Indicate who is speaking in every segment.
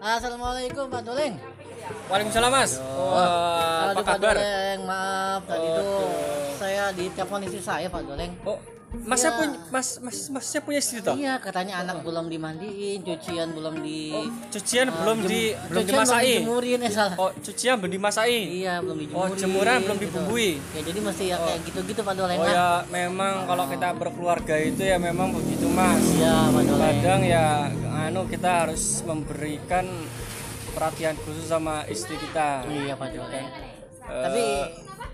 Speaker 1: Assalamualaikum Pak Doleng.
Speaker 2: Waalaikumsalam Mas. Wah,
Speaker 1: Aduh,
Speaker 2: apa kabar?
Speaker 1: Doleng, maaf tadi itu
Speaker 2: Aduh.
Speaker 1: saya ditelepon istri saya Pak Doleng.
Speaker 2: Oh, Masnya
Speaker 1: Ya.
Speaker 2: punya Mas Mas Masnya punya istri toh?
Speaker 1: Iya, katanya anak belum dimandiin, cucian belum di
Speaker 2: Oh,
Speaker 1: eh,
Speaker 2: cucian belum
Speaker 1: jem-
Speaker 2: di belum
Speaker 1: cucian
Speaker 2: dimasai.
Speaker 1: dijemurin, eh salah.
Speaker 2: Oh, cucian belum dimasai.
Speaker 1: Iya, belum dijemurin.
Speaker 2: Oh, jemuran belum dibumbui.
Speaker 1: Ya jadi mesti ya kayak gitu-gitu Pak Doleng. ah.
Speaker 2: Oh ya, memang kalau kita berkeluarga itu ya memang begitu Mas.
Speaker 1: Iya, Pak Doleng.
Speaker 2: Kadang ya anu kita harus memberikan perhatian khusus sama istri kita.
Speaker 1: Iya, Pak Doleng.
Speaker 2: Eh,
Speaker 1: Tapi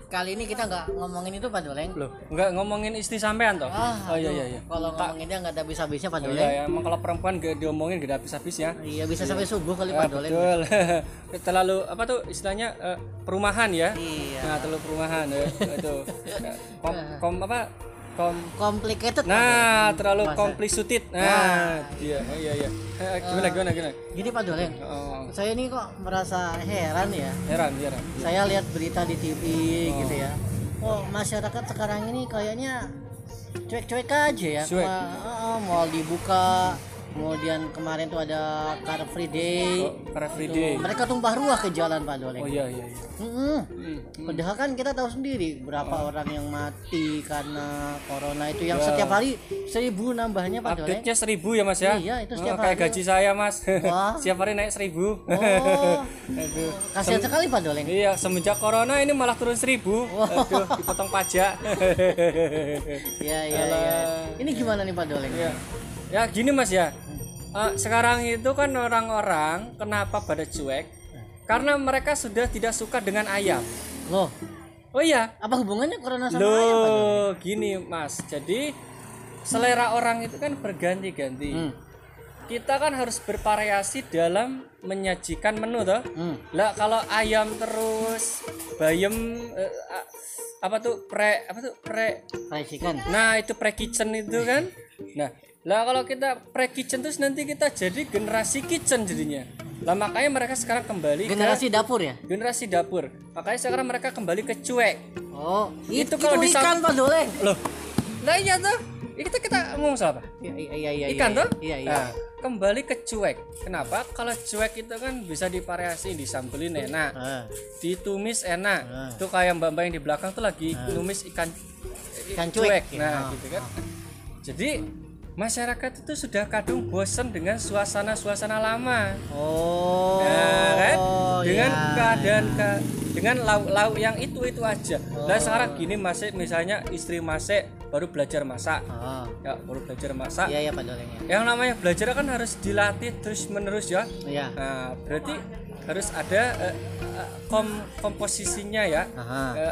Speaker 1: kali ini kita nggak ngomongin itu Pak Doleng.
Speaker 2: loh, nggak ngomongin istri sampean toh?
Speaker 1: Ah,
Speaker 2: oh iya
Speaker 1: aduh,
Speaker 2: iya iya.
Speaker 1: Kalau ngomongin dia nggak ada habis-habisnya Pak
Speaker 2: Iya,
Speaker 1: Doleng.
Speaker 2: ya, emang kalau perempuan gak diomongin gak ada habis-habis ya.
Speaker 1: Iya, bisa sampai subuh kali
Speaker 2: Ya,
Speaker 1: Pak Doleng.
Speaker 2: betul. terlalu apa tuh istilahnya eh, perumahan ya.
Speaker 1: Iya. Nah.
Speaker 2: Nah, terlalu perumahan ya, itu. Eh, Kom, kom apa? Kom
Speaker 1: Complicated. Pak Doleng.
Speaker 2: Nah, terlalu
Speaker 1: Bahasa.
Speaker 2: komplisut. Nah, dia. Oh, iya iya. Eh, gimana gimana gimana?
Speaker 1: Jadi Pak Doleng,
Speaker 2: Oh,
Speaker 1: saya ini kok merasa heran ya.
Speaker 2: heran heran.
Speaker 1: Saya lihat berita di TV gitu ya. Oh, masyarakat sekarang ini kayaknya cuek-cuek aja ya.
Speaker 2: Cuek.
Speaker 1: Ma- eh, mall dibuka, kemudian kemarin tuh ada Car Free Day.
Speaker 2: Oh, Car Free Day.
Speaker 1: Tuh, mereka tumpah ruah ke jalan Pak Doleng.
Speaker 2: Oh iya iya. iya.
Speaker 1: Mm-mm.
Speaker 2: Hmm. Oh.
Speaker 1: Padahal kan kita tahu sendiri berapa orang yang mati karena corona itu
Speaker 2: Iya.
Speaker 1: yang setiap hari seribu nambahnya Pak Doleng.
Speaker 2: Update-nya 1000 ya Mas ya?
Speaker 1: Iya, itu setiap
Speaker 2: Oh, kayak
Speaker 1: hari.
Speaker 2: gaji saya Mas.
Speaker 1: Wah.
Speaker 2: setiap hari naik 1000.
Speaker 1: Oh,
Speaker 2: Aduh.
Speaker 1: kasihan sekali Pak Doleng.
Speaker 2: Iya, semenjak corona ini malah turun 1000. Aduh, dipotong pajak.
Speaker 1: Ya, ya, ya. Ini gimana nih Pak Doleng?
Speaker 2: Ya, ya gini mas ya. Eh, sekarang itu kan orang-orang kenapa pada cuek? Karena mereka sudah tidak suka dengan ayam.
Speaker 1: Loh,
Speaker 2: Oh iya.
Speaker 1: apa hubungannya corona sama ayam, Pak Doleng?
Speaker 2: Loh, gini mas. Jadi selera orang itu kan berganti-ganti.
Speaker 1: Hmm.
Speaker 2: Kita kan harus bervariasi dalam menyajikan menu toh.
Speaker 1: Hmm.
Speaker 2: Lah kalau ayam terus bayam eh, a- apa tuh pre apa tuh pre
Speaker 1: Fried chicken.
Speaker 2: Nah itu pre kitchen itu kan. Nah lah kalau kita pre kitchen terus nanti kita jadi generasi kitchen jadinya. Lah makanya mereka sekarang kembali
Speaker 1: Generasi dapur ya?
Speaker 2: ke generasi dapur. Makanya sekarang mereka kembali ke cuek.
Speaker 1: Oh, itu,
Speaker 2: Itu
Speaker 1: kalau
Speaker 2: kalau di
Speaker 1: ikan Pak Doleng.
Speaker 2: Loh, lah iya tuh. Kita kita ngomong soal apa?
Speaker 1: Iya, iya, iya, iya.
Speaker 2: Ikan
Speaker 1: iya,
Speaker 2: tuh?
Speaker 1: Iya, iya.
Speaker 2: Nah, kembali ke cuek. Kenapa? Kalau cuek itu kan bisa divariasi, ya. Nah, disambelin enak,
Speaker 1: Ah,
Speaker 2: ditumis enak.
Speaker 1: Ah.
Speaker 2: Tuh kayak mbak-mbak yang di belakang tuh lagi numis ikan
Speaker 1: Ikan cuek. Ya.
Speaker 2: Nah, gitu kan. Jadi masyarakat itu sudah kadung bosen dengan suasana-suasana lama.
Speaker 1: Oh.
Speaker 2: Nah, kan? Dengan
Speaker 1: iya.
Speaker 2: keadaan ke- dengan lauk-lauk yang itu-itu aja.
Speaker 1: Oh.
Speaker 2: Nah, sekarang gini masih misalnya istri masih baru belajar masak.
Speaker 1: Ah,
Speaker 2: Ya, baru belajar masak.
Speaker 1: Iya, iya Pak Doleng ya.
Speaker 2: Yang namanya belajar kan harus dilatih terus-menerus ya.
Speaker 1: Iya.
Speaker 2: Nah, berarti harus ada eh, eh, kom- komposisinya ya.
Speaker 1: Aha.
Speaker 2: Eh,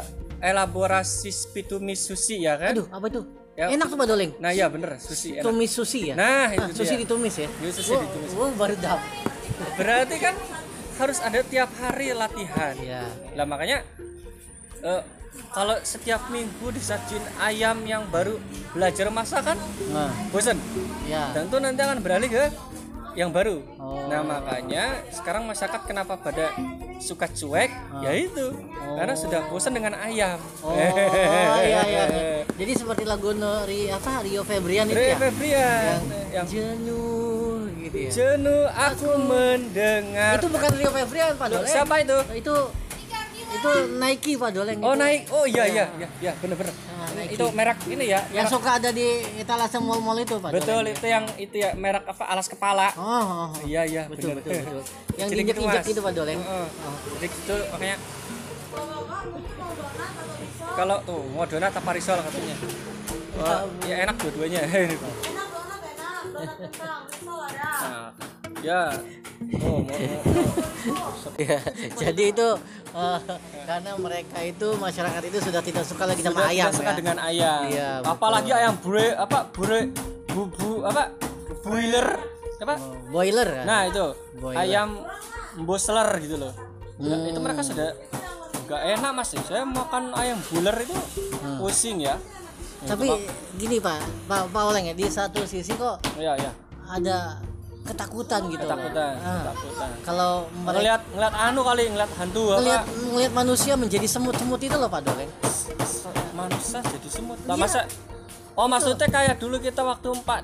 Speaker 2: elaborasi spitumi sushi ya kan?
Speaker 1: Aduh, apa itu?
Speaker 2: Ya.
Speaker 1: Enak tuh Pak Doleng.
Speaker 2: Nah ya bener sushi enak.
Speaker 1: Tumis sushi ya?
Speaker 2: Nah
Speaker 1: Ah,
Speaker 2: itu
Speaker 1: sushi
Speaker 2: dia.
Speaker 1: ditumis ya?
Speaker 2: Iya, sushi
Speaker 1: Wah,
Speaker 2: ditumis.
Speaker 1: wah, baru dapur.
Speaker 2: Berarti kan harus ada tiap hari latihan.
Speaker 1: Iya.
Speaker 2: Lah makanya eh, kalau setiap minggu disajiin ayam yang baru belajar masak kan
Speaker 1: Nah,
Speaker 2: bosen.
Speaker 1: iya.
Speaker 2: Tentu nanti akan beralih ke yang baru.
Speaker 1: Oh.
Speaker 2: Nah makanya sekarang masyarakat kenapa pada suka cuek? Yaitu karena sudah bosan dengan ayam.
Speaker 1: Ah. Oh, iya, iya. Jadi seperti lagu Nori apa Rio Febrian itu
Speaker 2: Ray
Speaker 1: ya?
Speaker 2: Febrian yang
Speaker 1: Yang jenuh gitu ya.
Speaker 2: jenuh aku mendengar.
Speaker 1: Itu bukan Rio Febrian Pak Doleng.
Speaker 2: Siapa itu?
Speaker 1: Itu itu Nike Pak Doleng.
Speaker 2: Oh
Speaker 1: itu.
Speaker 2: naik, oh iya iya iya, iya bener-bener.
Speaker 1: Ah,
Speaker 2: Ini-
Speaker 1: Nike.
Speaker 2: itu merek ini ya,
Speaker 1: Yang
Speaker 2: merek-
Speaker 1: suka ada di etalase mall-mall itu Pak
Speaker 2: betul
Speaker 1: Doleng.
Speaker 2: itu yang itu ya merek apa alas kepala.
Speaker 1: Oh, oh, oh.
Speaker 2: Iya iya
Speaker 1: Betul,
Speaker 2: bener.
Speaker 1: betul, betul. Yang
Speaker 2: Jadi gitu,
Speaker 1: diinjek-injek
Speaker 2: Mas.
Speaker 1: itu Pak Doleng.
Speaker 2: Heeh.
Speaker 1: Oh.
Speaker 2: Jadi gitu makanya. Kalau tuh mau donat apa risol katanya? Wah, ya enak dua-duanya. Nah, ya. Oh, mau, mau.
Speaker 1: Ya, jadi itu eh, karena mereka itu masyarakat itu sudah tidak suka lagi sama
Speaker 2: Sudah
Speaker 1: ayam
Speaker 2: suka
Speaker 1: ya.
Speaker 2: dengan ayam.
Speaker 1: Iya, betul.
Speaker 2: Apalagi ayam bule apa bule bubu apa boiler apa?
Speaker 1: Oh, Boiler ya.
Speaker 2: Nah itu
Speaker 1: Boiler.
Speaker 2: ayam bosler gitu loh. Ya,
Speaker 1: Hmm.
Speaker 2: itu mereka sudah nggak enak mas. Saya makan ayam buler itu
Speaker 1: Hmm.
Speaker 2: pusing ya.
Speaker 1: Tapi gini Pak, Pak, Pak Oleng ya di satu sisi kok
Speaker 2: Iya iya.
Speaker 1: ada ketakutan gitu. Pak.
Speaker 2: Ketakutan,
Speaker 1: Ah,
Speaker 2: ketakutan.
Speaker 1: Kalau mereka
Speaker 2: Ngeliat ngeliat anu kali ngeliat hantu
Speaker 1: ngelihat
Speaker 2: apa
Speaker 1: ngelihat manusia menjadi semut-semut itu loh Pak Doleng.
Speaker 2: manusia jadi semut. Lah
Speaker 1: Iya.
Speaker 2: masa Oh maksudnya kayak dulu kita waktu Pak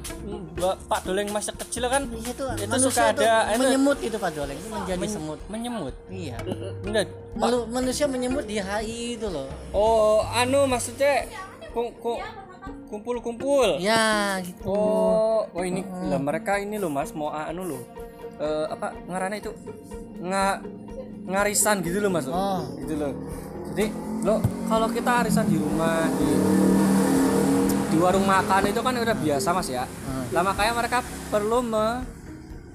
Speaker 2: Mbak- Pak Doleng masih kecil kan
Speaker 1: Di situ
Speaker 2: Itu
Speaker 1: manusia
Speaker 2: suka ada- eh,
Speaker 1: tuh
Speaker 2: itu-
Speaker 1: menyemut itu Pak Doleng, itu menjadi semut.
Speaker 2: menyemut.
Speaker 1: Iya.
Speaker 2: Enggak.
Speaker 1: Melu- manusia menyemut di HI itu loh.
Speaker 2: Oh anu maksudnya ku- ku- kumpul-kumpul.
Speaker 1: Ya gitu.
Speaker 2: Oh, oh ini lah mereka ini loh Mas mau anu loh. Eh, apa ngarana itu? Nga, ngarisan gitu loh Mas.
Speaker 1: Oh.
Speaker 2: Gitu loh. Jadi lo kalau kita arisan di rumah di di warung makan itu kan udah biasa Mas ya.
Speaker 1: Hmm.
Speaker 2: Lah makanya mereka perlu me,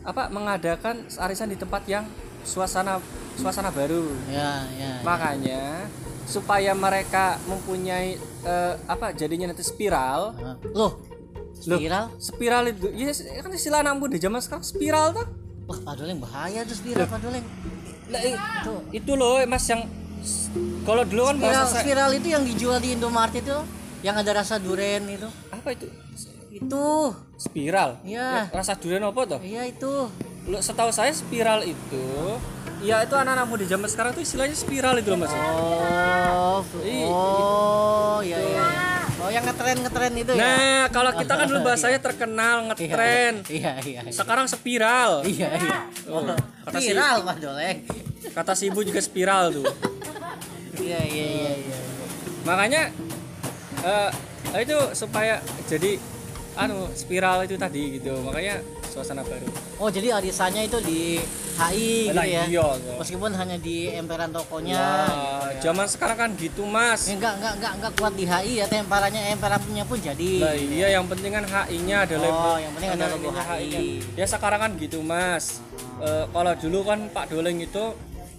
Speaker 2: apa mengadakan arisan di tempat yang suasana suasana baru
Speaker 1: Ya, ya.
Speaker 2: makanya supaya mereka mempunyai eh, apa jadinya nanti spiral
Speaker 1: Ah. Loh,
Speaker 2: Loh.
Speaker 1: spiral?
Speaker 2: spiral itu ya s- kan istilah anak muda zaman sekarang spiral tuh
Speaker 1: Wah, Pak Doleng bahaya tuh spiral Pak Doleng. Nah,
Speaker 2: Lah,
Speaker 1: eh.
Speaker 2: i- itu loh eh, mas yang s- kalau dulu kan
Speaker 1: Spiral,
Speaker 2: bahasa saya-
Speaker 1: spiral itu yang dijual di Indomaret itu loh, yang ada rasa duren itu.
Speaker 2: apa itu S-
Speaker 1: Itu.
Speaker 2: spiral
Speaker 1: Ya.
Speaker 2: Ya, rasa durian apa tuh
Speaker 1: Iya itu.
Speaker 2: lo setahu saya spiral itu ya itu anak-anak muda zaman sekarang tuh istilahnya spiral itu loh mas
Speaker 1: Oh, oh, iya iya. Oh, yang ngetren ngetren itu ya.
Speaker 2: nah kalau kita kan dulu bahasanya terkenal
Speaker 1: Iya,
Speaker 2: ngetren
Speaker 1: Iya iya. iya.
Speaker 2: sekarang spiral
Speaker 1: Iya iya.
Speaker 2: Oh, kata si-
Speaker 1: Viral Pak Doleng.
Speaker 2: kata si ibu juga spiral tuh
Speaker 1: Iya iya iya iya.
Speaker 2: makanya eh itu supaya jadi anu spiral itu tadi gitu makanya suasana baru
Speaker 1: Oh, jadi arisannya itu di HI
Speaker 2: Lah,
Speaker 1: gitu ya.
Speaker 2: iya, iya.
Speaker 1: Meskipun hanya di emperan tokonya.
Speaker 2: Wah,
Speaker 1: iya.
Speaker 2: zaman sekarang kan gitu mas
Speaker 1: Ya, enggak enggak enggak enggak kuat di HI ya temparannya emperan punya pun jadi.
Speaker 2: lah iya yang penting kan HI nya ada
Speaker 1: Oh,
Speaker 2: label
Speaker 1: yang penting ada logo
Speaker 2: ininya
Speaker 1: HI.
Speaker 2: ya sekarang kan gitu mas
Speaker 1: Ah.
Speaker 2: Eh, kalau dulu kan Pak Doleng itu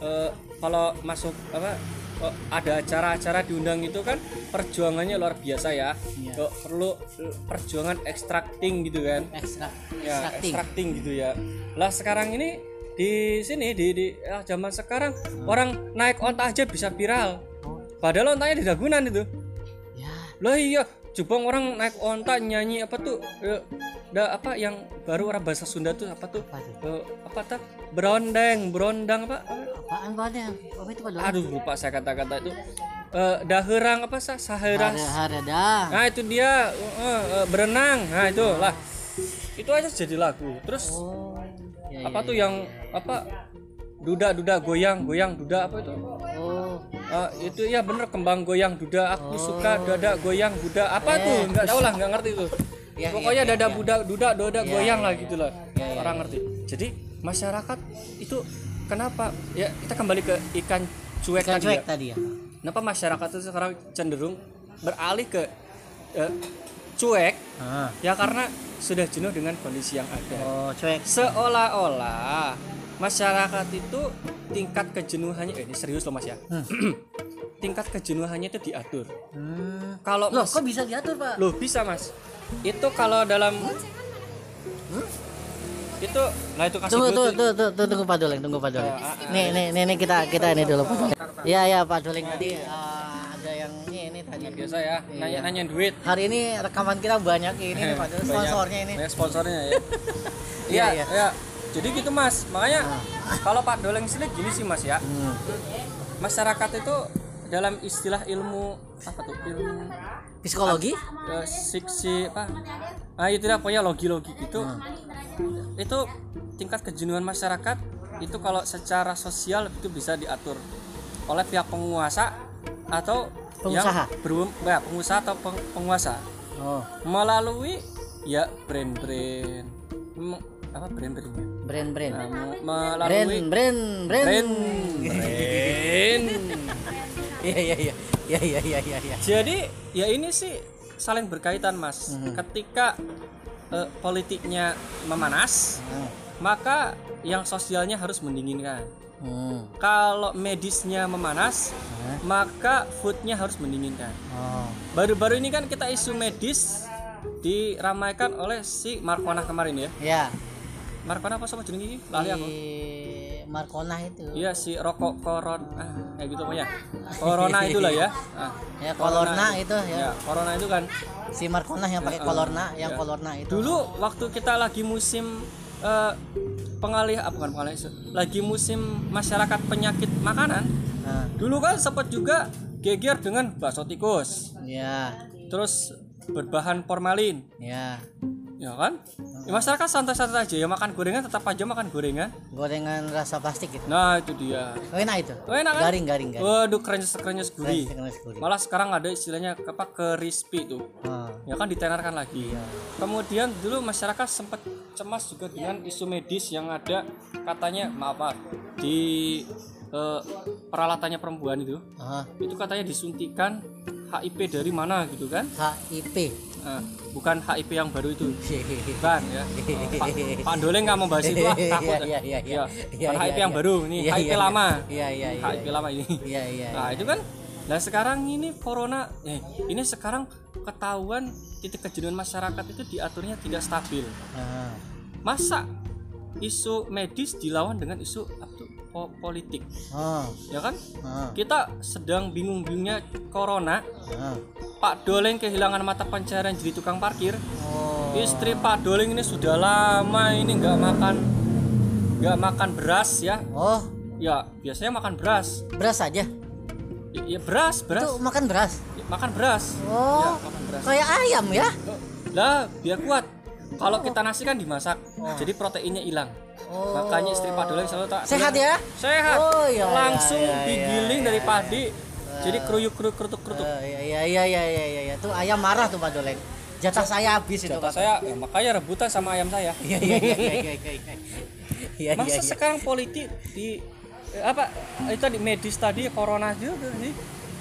Speaker 2: eh, kalau masuk apa eh, ada acara-acara diundang itu kan perjuangannya luar biasa ya
Speaker 1: Iya.
Speaker 2: Eh, perlu eh, perjuangan extracting gitu kan
Speaker 1: Ekstrak,
Speaker 2: ya
Speaker 1: ekstrakting.
Speaker 2: extracting gitu ya lah sekarang ini di sini di, di ah, zaman sekarang
Speaker 1: Ah.
Speaker 2: orang naik onta aja bisa viral
Speaker 1: Oh.
Speaker 2: padahal ontanya di Dagunan itu
Speaker 1: Ya,
Speaker 2: lah iya coba orang naik onta nyanyi apa tuh eh, da, apa yang baru orang bahasa Sunda tuh apa tuh
Speaker 1: Apa tuh?
Speaker 2: Eh, apa tuh berondeng berondang apa apa?
Speaker 1: apaan Pak Doleng? Apa itu Pak Doleng?
Speaker 2: aduh lupa saya kata-kata itu Eh, daherang apa sah saheras
Speaker 1: Ada dah.
Speaker 2: Nah itu dia eh, eh, eh, berenang. Nah itu lah. Itu aja jadi lagu. Terus
Speaker 1: Oh. Ya,
Speaker 2: apa
Speaker 1: ya,
Speaker 2: tuh yang apa duda duda goyang goyang duda apa itu?
Speaker 1: ya. Oh.
Speaker 2: Eh, itu ya bener kembang goyang duda aku suka dada goyang duda apa
Speaker 1: Eh,
Speaker 2: tuh nggak tahu lah nggak ngerti tuh
Speaker 1: Ya, ya,
Speaker 2: pokoknya
Speaker 1: ya,
Speaker 2: dada
Speaker 1: ya.
Speaker 2: budak duda doda goyang lah gitu lah
Speaker 1: Ya, ya,
Speaker 2: orang ngerti jadi masyarakat itu kenapa ya kita kembali ke ikan cuek
Speaker 1: Ikan
Speaker 2: tadi
Speaker 1: cuek
Speaker 2: ya.
Speaker 1: tadi ya.
Speaker 2: kenapa masyarakat itu sekarang cenderung beralih ke eh, cuek
Speaker 1: Ah.
Speaker 2: Ya karena sudah jenuh dengan kondisi yang ada.
Speaker 1: Oh, cuek.
Speaker 2: Seolah-olah masyarakat itu tingkat kejenuhannya eh, ini serius loh Mas ya. tingkat kejenuhannya itu diatur.
Speaker 1: Hmm.
Speaker 2: Kalau
Speaker 1: Loh,
Speaker 2: Mas-
Speaker 1: kok bisa diatur, Pak?
Speaker 2: Loh, bisa Mas. Itu kalau dalam Hmm? Itu nah itu kasih
Speaker 1: Tunggu,
Speaker 2: dulu
Speaker 1: tuh,
Speaker 2: tuh.
Speaker 1: tuh, tuh, tuh, tunggu Pak Doleng, tunggu Pak
Speaker 2: Ah,
Speaker 1: Doleng. Nih, nih, nih, nih kita kita ini dulu Pak Doleng. Iya, iya Pak Doleng tadi ah, ada yang ini, ini tadi.
Speaker 2: Biasa ya, nanya-nanya duit.
Speaker 1: Hari ini rekaman kita banyak Iya, ini nih Pak Doleng,
Speaker 2: Banyak-
Speaker 1: sponsornya ini.
Speaker 2: banyak sponsornya ya.
Speaker 1: Iya,
Speaker 2: Iya,
Speaker 1: iya. Ah.
Speaker 2: iya. Jadi gitu Mas, makanya kalau Pak Doleng sendiri gini sih Mas ya.
Speaker 1: Hmm.
Speaker 2: masyarakat itu dalam istilah ilmu apa tuh ilmu
Speaker 1: Psikologi?
Speaker 2: eh, siksi apa ah itu dah pokoknya logi logi gitu itu tingkat kejenuhan masyarakat itu kalau secara sosial itu bisa diatur oleh pihak penguasa atau
Speaker 1: Pengusaha.
Speaker 2: yang berum- ya, pengusaha atau peng- penguasa
Speaker 1: Oh,
Speaker 2: melalui ya brand-brand Hmm, apa brand-brand ya? Nah,
Speaker 1: brand-brand.
Speaker 2: me- melalui
Speaker 1: Brand, brand, brand.
Speaker 2: brand.
Speaker 1: Iya, iya, iya. Iya, iya, iya, iya, iya.
Speaker 2: Jadi ya ini sih saling berkaitan mas.
Speaker 1: Mhm.
Speaker 2: Ketika eh, politiknya memanas,
Speaker 1: Hmm.
Speaker 2: maka yang sosialnya harus mendinginkan.
Speaker 1: Hmm.
Speaker 2: Kalau medisnya memanas,
Speaker 1: Hmm.
Speaker 2: maka foodnya harus mendinginkan.
Speaker 1: Oh.
Speaker 2: Baru-baru ini kan kita isu medis diramaikan oleh si Markona kemarin ya.
Speaker 1: Ya.
Speaker 2: Markona apa sama jenenge iki? Lali
Speaker 1: Iya.
Speaker 2: aku.
Speaker 1: Di Markona itu.
Speaker 2: Iya si rokok koron ah kayak gitu pokoknya. Corona itulah ya. Ah,
Speaker 1: Ya, kolorna itu ya.
Speaker 2: ya, corona itu kan
Speaker 1: Si Markona yang pakai kolorna, yang kolorna itu.
Speaker 2: Iya, ah. dulu waktu kita lagi musim eh, pengalih apa bukan pengalih se- lagi musim masyarakat penyakit makanan
Speaker 1: Nah,
Speaker 2: dulu kan sempat juga geger dengan bakso tikus
Speaker 1: ya.
Speaker 2: terus berbahan formalin
Speaker 1: ya
Speaker 2: ya kan Ya, masyarakat santai-santai aja ya makan gorengan tetap aja makan gorengan
Speaker 1: gorengan rasa plastik gitu
Speaker 2: nah itu dia
Speaker 1: enak itu
Speaker 2: Oh, enak kan?
Speaker 1: garing garing garing
Speaker 2: waduh krenyes krenyes gurih
Speaker 1: Keren, keren,
Speaker 2: malah sekarang ada istilahnya apa crispy tuh
Speaker 1: keren. Ah,
Speaker 2: ya kan ditenarkan lagi
Speaker 1: Iya.
Speaker 2: kemudian dulu masyarakat sempat cemas juga dengan isu medis yang ada katanya maaf Pak, di eh, peralatannya perempuan itu
Speaker 1: ah.
Speaker 2: itu katanya disuntikan HIP dari mana gitu kan
Speaker 1: HIP
Speaker 2: Eh, bukan HIP yang baru itu
Speaker 1: Hehehe.
Speaker 2: bukan ya Eh, Pak, Pak Dole nggak mau bahas itu ah, takut
Speaker 1: Iya, iya, iya.
Speaker 2: ya
Speaker 1: Iya,
Speaker 2: bukan
Speaker 1: iya,
Speaker 2: HIP yang
Speaker 1: iya.
Speaker 2: baru ini
Speaker 1: Iya,
Speaker 2: HIP
Speaker 1: iya,
Speaker 2: lama
Speaker 1: iya iya iya
Speaker 2: HIP lama ini
Speaker 1: iya iya
Speaker 2: Nah itu kan Nah sekarang ini corona eh, Ini sekarang ketahuan titik kejenuhan masyarakat itu diaturnya tidak stabil
Speaker 1: Ah,
Speaker 2: Masa isu medis dilawan dengan isu apa tuh, po- politik
Speaker 1: ah,
Speaker 2: Ya kan?
Speaker 1: ah,
Speaker 2: Kita sedang bingung-bingungnya corona
Speaker 1: ah.
Speaker 2: Pak Doleng kehilangan mata pencarian jadi tukang parkir
Speaker 1: oh
Speaker 2: Istri Pak Doleng ini sudah lama ini nggak makan nggak makan beras ya
Speaker 1: oh
Speaker 2: Ya biasanya makan beras
Speaker 1: beras aja
Speaker 2: Ya ya, beras, beras
Speaker 1: tuh makan beras
Speaker 2: Ya, Makan beras Ya,
Speaker 1: oh
Speaker 2: makan beras.
Speaker 1: kayak ayam ya
Speaker 2: Lah, biar kuat. Kalau kita nasi kan dimasak, jadi proteinnya hilang.
Speaker 1: Oh.
Speaker 2: Makanya istri Padola selalu tak
Speaker 1: sehat ya
Speaker 2: Sehat.
Speaker 1: Oh, iya,
Speaker 2: Langsung
Speaker 1: iya, iya,
Speaker 2: digiling dari padi. Jadi kruyuk kruyuk kerutuk kerutuk.
Speaker 1: Eh, iya iya iya iya iya iya tuh ayam marah tuh pak doleng jatah saya habis itu pak
Speaker 2: saya ya, makanya rebutan sama ayam saya.
Speaker 1: iya iya iya iya iya iya iya iya
Speaker 2: Masa
Speaker 1: iya
Speaker 2: sekarang politik di eh, apa itu tadi medis tadi corona juga nih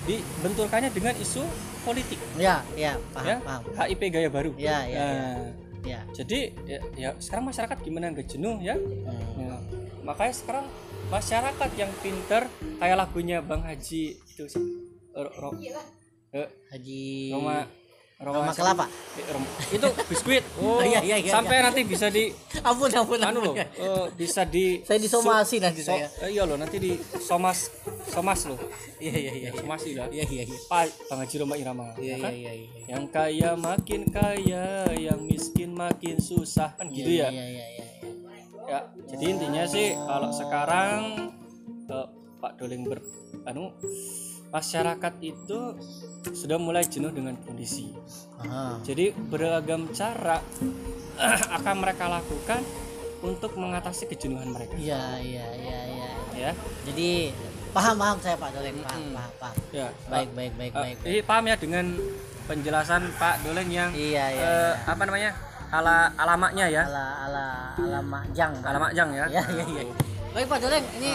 Speaker 2: dibenturkannya dengan isu politik
Speaker 1: ya ya paham
Speaker 2: ya
Speaker 1: paham
Speaker 2: HIP gaya baru.
Speaker 1: Ya, ya,
Speaker 2: Nah,
Speaker 1: ya
Speaker 2: Jadi ya, ya sekarang masyarakat gimana nggak jenuh ya?
Speaker 1: Hmm.
Speaker 2: Ya, makanya sekarang masyarakat yang pinter kayak lagunya Bang Haji itu sih. Ro- ro- eh,
Speaker 1: Haji
Speaker 2: Roma
Speaker 1: Roma kelapa
Speaker 2: eh, Roma- itu biskuit. Oh,
Speaker 1: Iya, iya, iya,
Speaker 2: sampai nanti bisa di
Speaker 1: ampun ampun
Speaker 2: anu loh,
Speaker 1: ampun
Speaker 2: eh, bisa di
Speaker 1: saya disomasi nanti
Speaker 2: so-
Speaker 1: saya
Speaker 2: eh, iya loh, nanti di somas somas loh.
Speaker 1: iya iya iya iya
Speaker 2: Somasi lah.
Speaker 1: iya iya iya
Speaker 2: Pak Bang Haji Roma Irama.
Speaker 1: iya
Speaker 2: ya kan?
Speaker 1: iya iya
Speaker 2: Yang kaya makin kaya, yang miskin makin susah kan gitu
Speaker 1: iya
Speaker 2: ya.
Speaker 1: iya iya iya.
Speaker 2: ya jadi intinya sih kalau sekarang eh, Pak Doling ber anu masyarakat itu sudah mulai jenuh dengan kondisi
Speaker 1: Ah,
Speaker 2: jadi beragam cara akan mereka lakukan untuk mengatasi kejenuhan mereka
Speaker 1: iya iya iya iya
Speaker 2: ya
Speaker 1: jadi paham paham saya pak doleng paham paham paham
Speaker 2: ya
Speaker 1: baik baik baik
Speaker 2: Eh,
Speaker 1: baik
Speaker 2: ini paham ya dengan penjelasan Pak Doling yang
Speaker 1: iya iya
Speaker 2: eh, apa namanya ala alamaknya ya
Speaker 1: ala ala ala makjang Pak.
Speaker 2: alamak jang ya
Speaker 1: ya ya ya baik pak doleng ini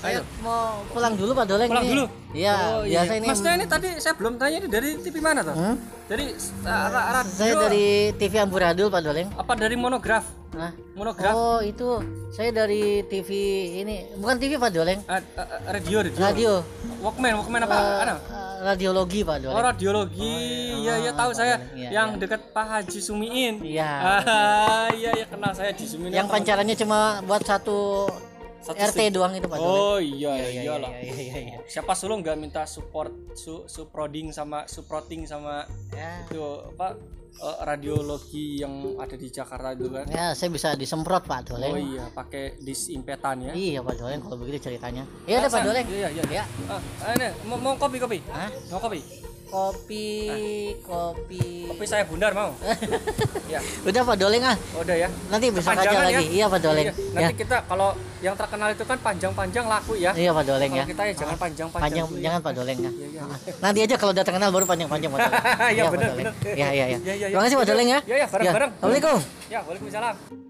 Speaker 1: saya
Speaker 2: Ayo.
Speaker 1: mau pulang dulu pak doleng
Speaker 2: pulang
Speaker 1: ini.
Speaker 2: dulu
Speaker 1: iya
Speaker 2: Oh, iya.
Speaker 1: biasa ini
Speaker 2: maksudnya ini tadi saya belum tanya ini dari TV mana toh
Speaker 1: Hmm?
Speaker 2: dari uh, ra- radio
Speaker 1: saya dari TV Amburadul pak doleng
Speaker 2: apa dari monograf
Speaker 1: nah
Speaker 2: monograf
Speaker 1: oh itu saya dari TV ini bukan TV pak doleng
Speaker 2: Ah, ah, ah, radio radio
Speaker 1: radio
Speaker 2: Walkman Walkman apa Ada?
Speaker 1: Eh, radiologi pak
Speaker 2: Oh
Speaker 1: doleng
Speaker 2: radiologi, ya ya tahu saya
Speaker 1: Iya,
Speaker 2: yang dekat Pak Haji Sumiin.
Speaker 1: Iya.
Speaker 2: Ah, iya ya kenal saya di Sumiin.
Speaker 1: yang
Speaker 2: Teman-
Speaker 1: pancarannya cuma buat satu,
Speaker 2: Satu
Speaker 1: RT doang itu pak doleng
Speaker 2: Oh iya
Speaker 1: iya,
Speaker 2: iyalah.
Speaker 1: iya, iya, iya, iya.
Speaker 2: Siapa solo nggak minta support su suproding sama suproting sama
Speaker 1: ya.
Speaker 2: itu apa eh, radiologi yang ada di Jakarta itu kan?
Speaker 1: ya saya bisa disemprot pak
Speaker 2: Oh
Speaker 1: doleng
Speaker 2: iya, pakai disinfektan ya.
Speaker 1: iya pak doleng kalau begitu ceritanya ya udah pak doleng
Speaker 2: Iya, iya.
Speaker 1: ya
Speaker 2: Ah, ah, ini, mau, mau kopi, kopi.
Speaker 1: Hah?
Speaker 2: Mau kopi.
Speaker 1: kopi kopi
Speaker 2: Kopi saya bundar mau. ya,
Speaker 1: udah pak doleng ah
Speaker 2: udah ya.
Speaker 1: nanti besok aja
Speaker 2: Kepanjangan
Speaker 1: lagi iya pak doleng
Speaker 2: Iya,
Speaker 1: ya
Speaker 2: Nanti kita kalau yang terkenal itu kan panjang-panjang laku ya.
Speaker 1: iya pak doleng
Speaker 2: Kalau
Speaker 1: ya
Speaker 2: kita ya jangan panjang-panjang.
Speaker 1: panjang
Speaker 2: dulu ya.
Speaker 1: jangan pak doleng ya
Speaker 2: Iya, iya.
Speaker 1: nanti aja kalau udah terkenal baru panjang panjang pak doleng
Speaker 2: Iya,
Speaker 1: Iya, Pak
Speaker 2: benar,
Speaker 1: Doleng.
Speaker 2: benar.
Speaker 1: iya iya iya
Speaker 2: Iya, iya, iya.
Speaker 1: terima kasih pak doleng ya
Speaker 2: Iya, iya, bareng-bareng.
Speaker 1: assalamualaikum
Speaker 2: Ya, waalaikumsalam.